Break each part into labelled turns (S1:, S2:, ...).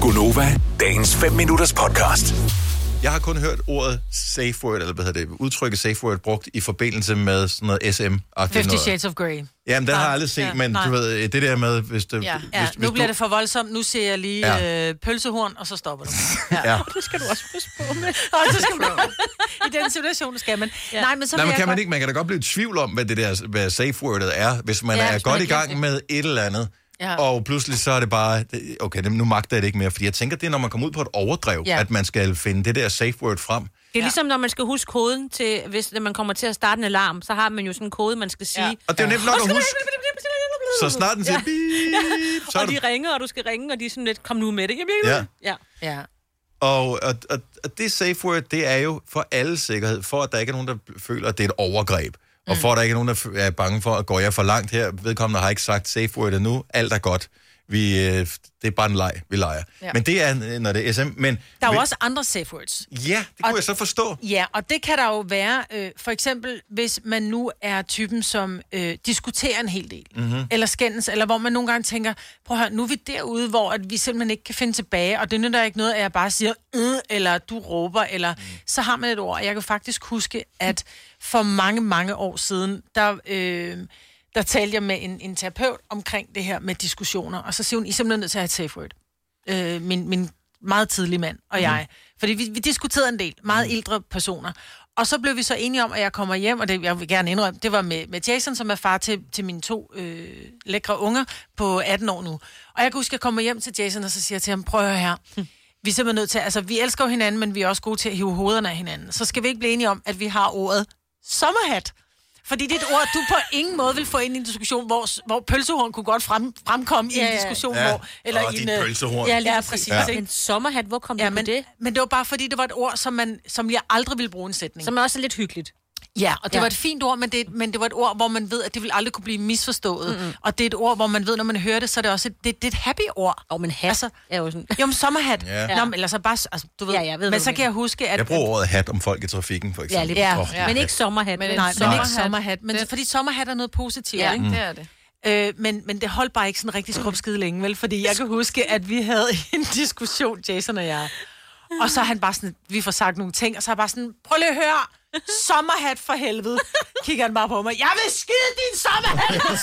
S1: Gunova, dagens 5 minutters podcast.
S2: Jeg har kun hørt ordet safe word, eller hvad hedder det, udtrykket safe word, brugt i forbindelse med sådan noget SM.
S3: Fifty Shades of Grey.
S2: Jamen, den har jeg aldrig set,
S3: Ja,
S2: men
S3: nej.
S2: du ved, øh, det der med, hvis det...
S3: Ja,
S2: hvis,
S3: ja.
S2: hvis
S3: nu bliver
S2: du,
S3: det for voldsomt. Nu ser jeg lige
S2: Ja.
S3: øh, pølsehorn, og så stopper du.
S2: Ja.
S4: Det skal du også huske på med.
S3: Og så skal du I den situation skal man. Ja. Nej, men så
S2: Nej,
S3: vil
S2: men
S3: jeg
S2: kan man
S3: godt-
S2: ikke, man kan da godt blive i tvivl om, hvad det der hvad safe wordet er, hvis man
S3: Ja,
S2: er
S3: hvis man
S2: godt
S3: har
S2: i gang
S3: glemt
S2: med et eller andet,
S3: Ja.
S2: og pludselig så er det bare, det- okay, nu magter jeg det ikke mere, fordi jeg tænker, det er, når man kommer ud på et overdrev,
S3: Ja.
S2: at man skal finde det der safe word frem.
S5: Det er ligesom, når man skal huske koden til, hvis når man kommer til at starte en alarm, så har man jo sådan en kode, man skal sige. Ja.
S2: Og det er jo nemt nok at huske, så snart den siger,
S5: Ja.
S2: beep, så er
S5: Og
S2: du
S5: de ringer, og du skal ringe, og de er sådan lidt, kom nu med det. Jamen,
S2: Ja.
S5: ja. ja.
S3: Ja.
S2: Og, og, og, og det safe word, det er jo for alle sikkerhed, for at der ikke er nogen, der føler, at det er et overgreb. Og
S3: Mm.
S2: for at der ikke er nogen, der f- er bange for, at går jeg for langt her, vedkommende har ikke sagt safe word endnu, alt er godt. Vi, øh, det er bare en leg, vi leger. Ja.
S3: Ja.
S2: Men det er, øh, når det er SM. Men,
S3: Der er jo
S2: vi-
S3: også andre safe words.
S2: Ja, det kunne
S3: og-
S2: jeg så forstå.
S3: Ja, og det kan der jo være, øh, for eksempel, hvis man nu er typen, som øh, diskuterer en hel del, mm-hmm. eller skændes, eller hvor man nogle gange tænker, prøv at høre, nu er vi derude, hvor at vi simpelthen ikke kan finde tilbage, og det nytter ikke noget, at jeg bare siger, øh, eller du råber, eller mm. så har man et ord. Jeg kan faktisk huske, at for mange, mange år siden, der... Øh, der talte jeg med en, en terapeut omkring det her med diskussioner, og så siger hun, I er simpelthen nødt til at have et safe word øh, min, min meget tidlige mand og jeg. Fordi vi, vi diskuterede en del, meget ældre personer. Og så blev vi så enige om, at jeg kommer hjem, og det jeg vil gerne indrømme, det var med, med Jason, som er far til, til mine to øh, lækre unger på 18 år nu. Og jeg kan huske, at jeg kommer hjem til Jason, og så siger jeg til ham, prøv at høre her. Vi er simpelthen nødt til, altså vi elsker jo hinanden, men vi er også gode til at hive hovederne af hinanden. Så skal vi ikke blive enige om, at vi har ordet sommerhat. Fordi det er et ord, du på ingen måde vil få ind i en diskussion, hvor, hvor pølsehorn kunne godt frem, fremkomme ja, ja. i
S5: ja.
S3: en diskussion,
S2: Ja.
S3: hvor... Eller
S2: Åh,
S3: i
S2: dit
S3: en, øh,
S2: pølsehorn.
S3: Ja, lige ja, præcis. Ja.
S5: En sommerhat, hvor kom ja,
S3: Ja,
S5: du på
S3: men,
S5: det?
S3: men det var bare fordi, det var et ord, som, man, som jeg aldrig ville bruge i en sætning.
S5: Som også er lidt hyggeligt.
S3: ja, og det
S5: Ja.
S3: var et fint ord, men det, men det var et ord, hvor man ved, at det vil aldrig kunne blive misforstået. Mm-hmm. Og det er et ord, hvor man ved, når man hører det, så er det også et, det, det er et happy ord.
S5: Og men hat
S3: Altså-
S5: altså, er jo sådan...
S3: Jo, men sommerhat.
S2: Ja.
S3: Ja. Nå, men ellers så bare, s- altså, du ved.
S5: Ja, jeg ved, hvad
S3: men
S5: du
S3: så kan
S5: mener.
S3: jeg huske, at...
S2: Jeg bruger ordet hat om folk i trafikken, for
S5: Ja,
S2: eksempel.
S5: lidt.
S3: Ja.
S2: Åh,
S5: Men ikke sommerhat.
S4: Men
S5: vel?
S4: en
S3: Nej, men ikke
S4: Sommerhat.
S3: sommerhat. Men,
S4: Det-
S3: fordi sommerhat er noget positivt,
S5: Ja.
S3: ikke?
S2: Mm.
S4: Det er det.
S3: Øh, men, men det holdt bare ikke sådan rigtig skrub skide længe, vel? Fordi jeg kan huske, at vi havde en diskussion, Jason og jeg. Og så er han bare sådan, vi får sagt nogle ting, og så er jeg bare sådan, prøv lige at høre, sommerhat for helvede. Kigger han bare på mig, jeg vil skide din sommerhat!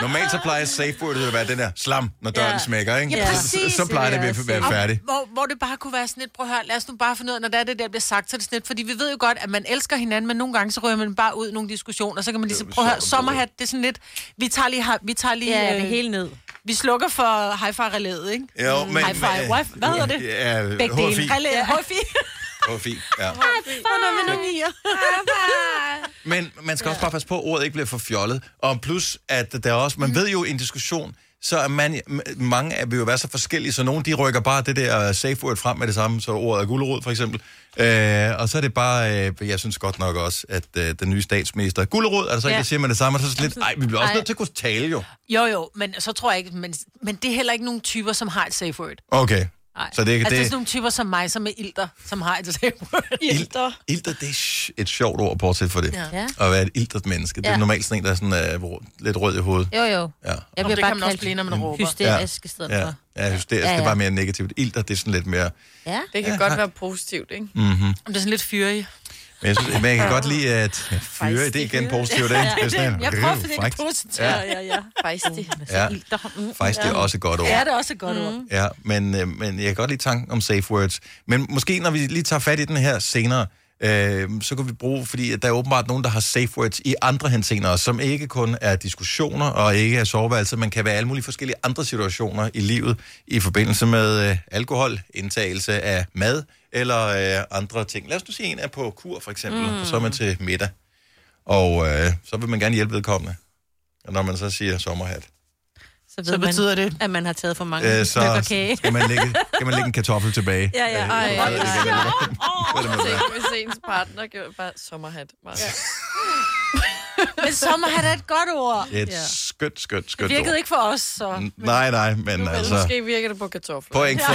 S2: Normalt så plejer safe wordet at være den der slam, når døren
S5: Ja.
S2: smækker, ikke?
S3: Ja,
S2: så,
S3: præcis.
S2: så plejer det
S5: Det vil
S2: at
S5: jeg
S2: være- være
S3: Og
S2: færdigt.
S3: Hvor, hvor det bare kunne være sådan lidt, prøv at høre, lad os nu bare finde ud af, når der er det der bliver sagt, så er det sådan lidt, fordi vi ved jo godt, at man elsker hinanden, men nogle gange så rører man bare ud i nogle diskussioner, og så kan man lige sige, prøv at høre, sommerhat, det er sådan lidt, vi tager lige, har- vi tager lige,
S5: Ja,
S3: øh,
S5: det hele ned.
S3: vi slukker for high five ikke?
S2: Jo, men...
S3: High five, wife, hvad hedder det?
S2: Ja,
S3: Begge
S2: HFI.
S3: dele. Rel- ja. HFI.
S2: HFI, ja.
S3: Hvornår med nogle nier?
S2: Men man skal ja. også bare passe på, at ordet ikke bliver for fjollet. Og plus, at der er også, man
S5: Mhm.
S2: ved jo i en diskussion, så er man, m- mange af vil jo være så forskellige, så nogen de rykker bare det der øh, safe word frem med det samme, så ordet er gulerod for eksempel. Øh, og så er det bare, øh, jeg synes godt nok også, at øh, den nye statsminister, gulerod, er der så ikke,
S5: Ja.
S2: der siger man det samme, og så er det sådan lidt, nej, vi bliver også
S5: Ej.
S2: nødt til at kunne tale jo.
S3: Jo, jo, men så tror jeg ikke, men, men det er heller ikke nogen typer, som har et safe word. Altså,
S2: Okay.
S5: Ej. Altså,
S2: Så det,
S3: det, det er
S2: det,
S3: sådan nogle typer som mig, som er ilter, som har et safe word.
S2: Ilter. Ilter, det er sj- et sjovt ord, bortset for det.
S3: Ja.
S2: At være et iltert menneske. Det er
S5: Ja.
S2: normalt sådan en, der er sådan, uh, lidt rød i hovedet.
S5: Jo, jo.
S2: Ja.
S5: Jeg
S3: Nå,
S5: bliver
S3: det
S5: bare
S3: kan man også
S5: kaldt
S3: blive, når man råber.
S5: Hysterisk i stedet
S2: Ja,
S5: for.
S2: ja hysterisk, ja,
S5: Ja,
S2: ja.
S5: ja.
S2: det er bare mere negativt. Ilter, det er sådan lidt mere...
S5: Ja.
S4: Det kan godt være positivt, ikke?
S2: Mm.
S3: Det er sådan lidt fyrig.
S2: Men jeg, synes, men jeg kan godt lide at fyre, det er igen positivt. Ja, det er sådan,
S3: Jeg prøver at finde det positivt.
S2: Ja.
S3: Ja.
S4: Ja, ja. Faktisk det.
S2: Ja,
S5: Ilter. Mm.
S2: faktisk det er også et godt ord.
S3: ja, det er også et godt mm. ord.
S2: Ja, men, øh, men jeg kan godt lide tanken om safe words. Men måske når vi lige tager fat i den her senere, øh, så kan vi bruge, fordi at der er åbenbart nogen, der har safe words i andre henseender, også, som ikke kun er diskussioner og ikke er soveværelser, men kan være alle mulige forskellige andre situationer i livet i forbindelse med øh, alkohol, indtagelse af mad eller øh, andre ting. Lad os nu sige, en er på kur for eksempel, mm. og så er man til middag, og øh, så vil man gerne hjælpe vedkommende. Og når man så siger sommerhat,
S5: Så, ved
S3: Så betyder det...
S5: man, at man har taget for mange
S2: øh,
S5: stykker
S2: så
S5: kage.
S2: skal man, lægge, skal man lægge en kartoffel tilbage.
S5: Ja, ja.
S2: Øh,
S4: Ej,
S2: eller hvad det
S4: ja.
S2: kan være. Hvad det må være.
S4: Tænk, hvis ens partner gjorde bare sommerhat. Bare. Ja.
S3: Men sommerhat er et godt ord.
S2: Det er et skønt, skønt,
S3: Det
S2: skønt
S3: virkede
S2: ord.
S3: ikke for os, så...
S2: Nej, nej, men
S4: Altså,
S2: altså...
S4: måske virker det på kartofler.
S2: Point for...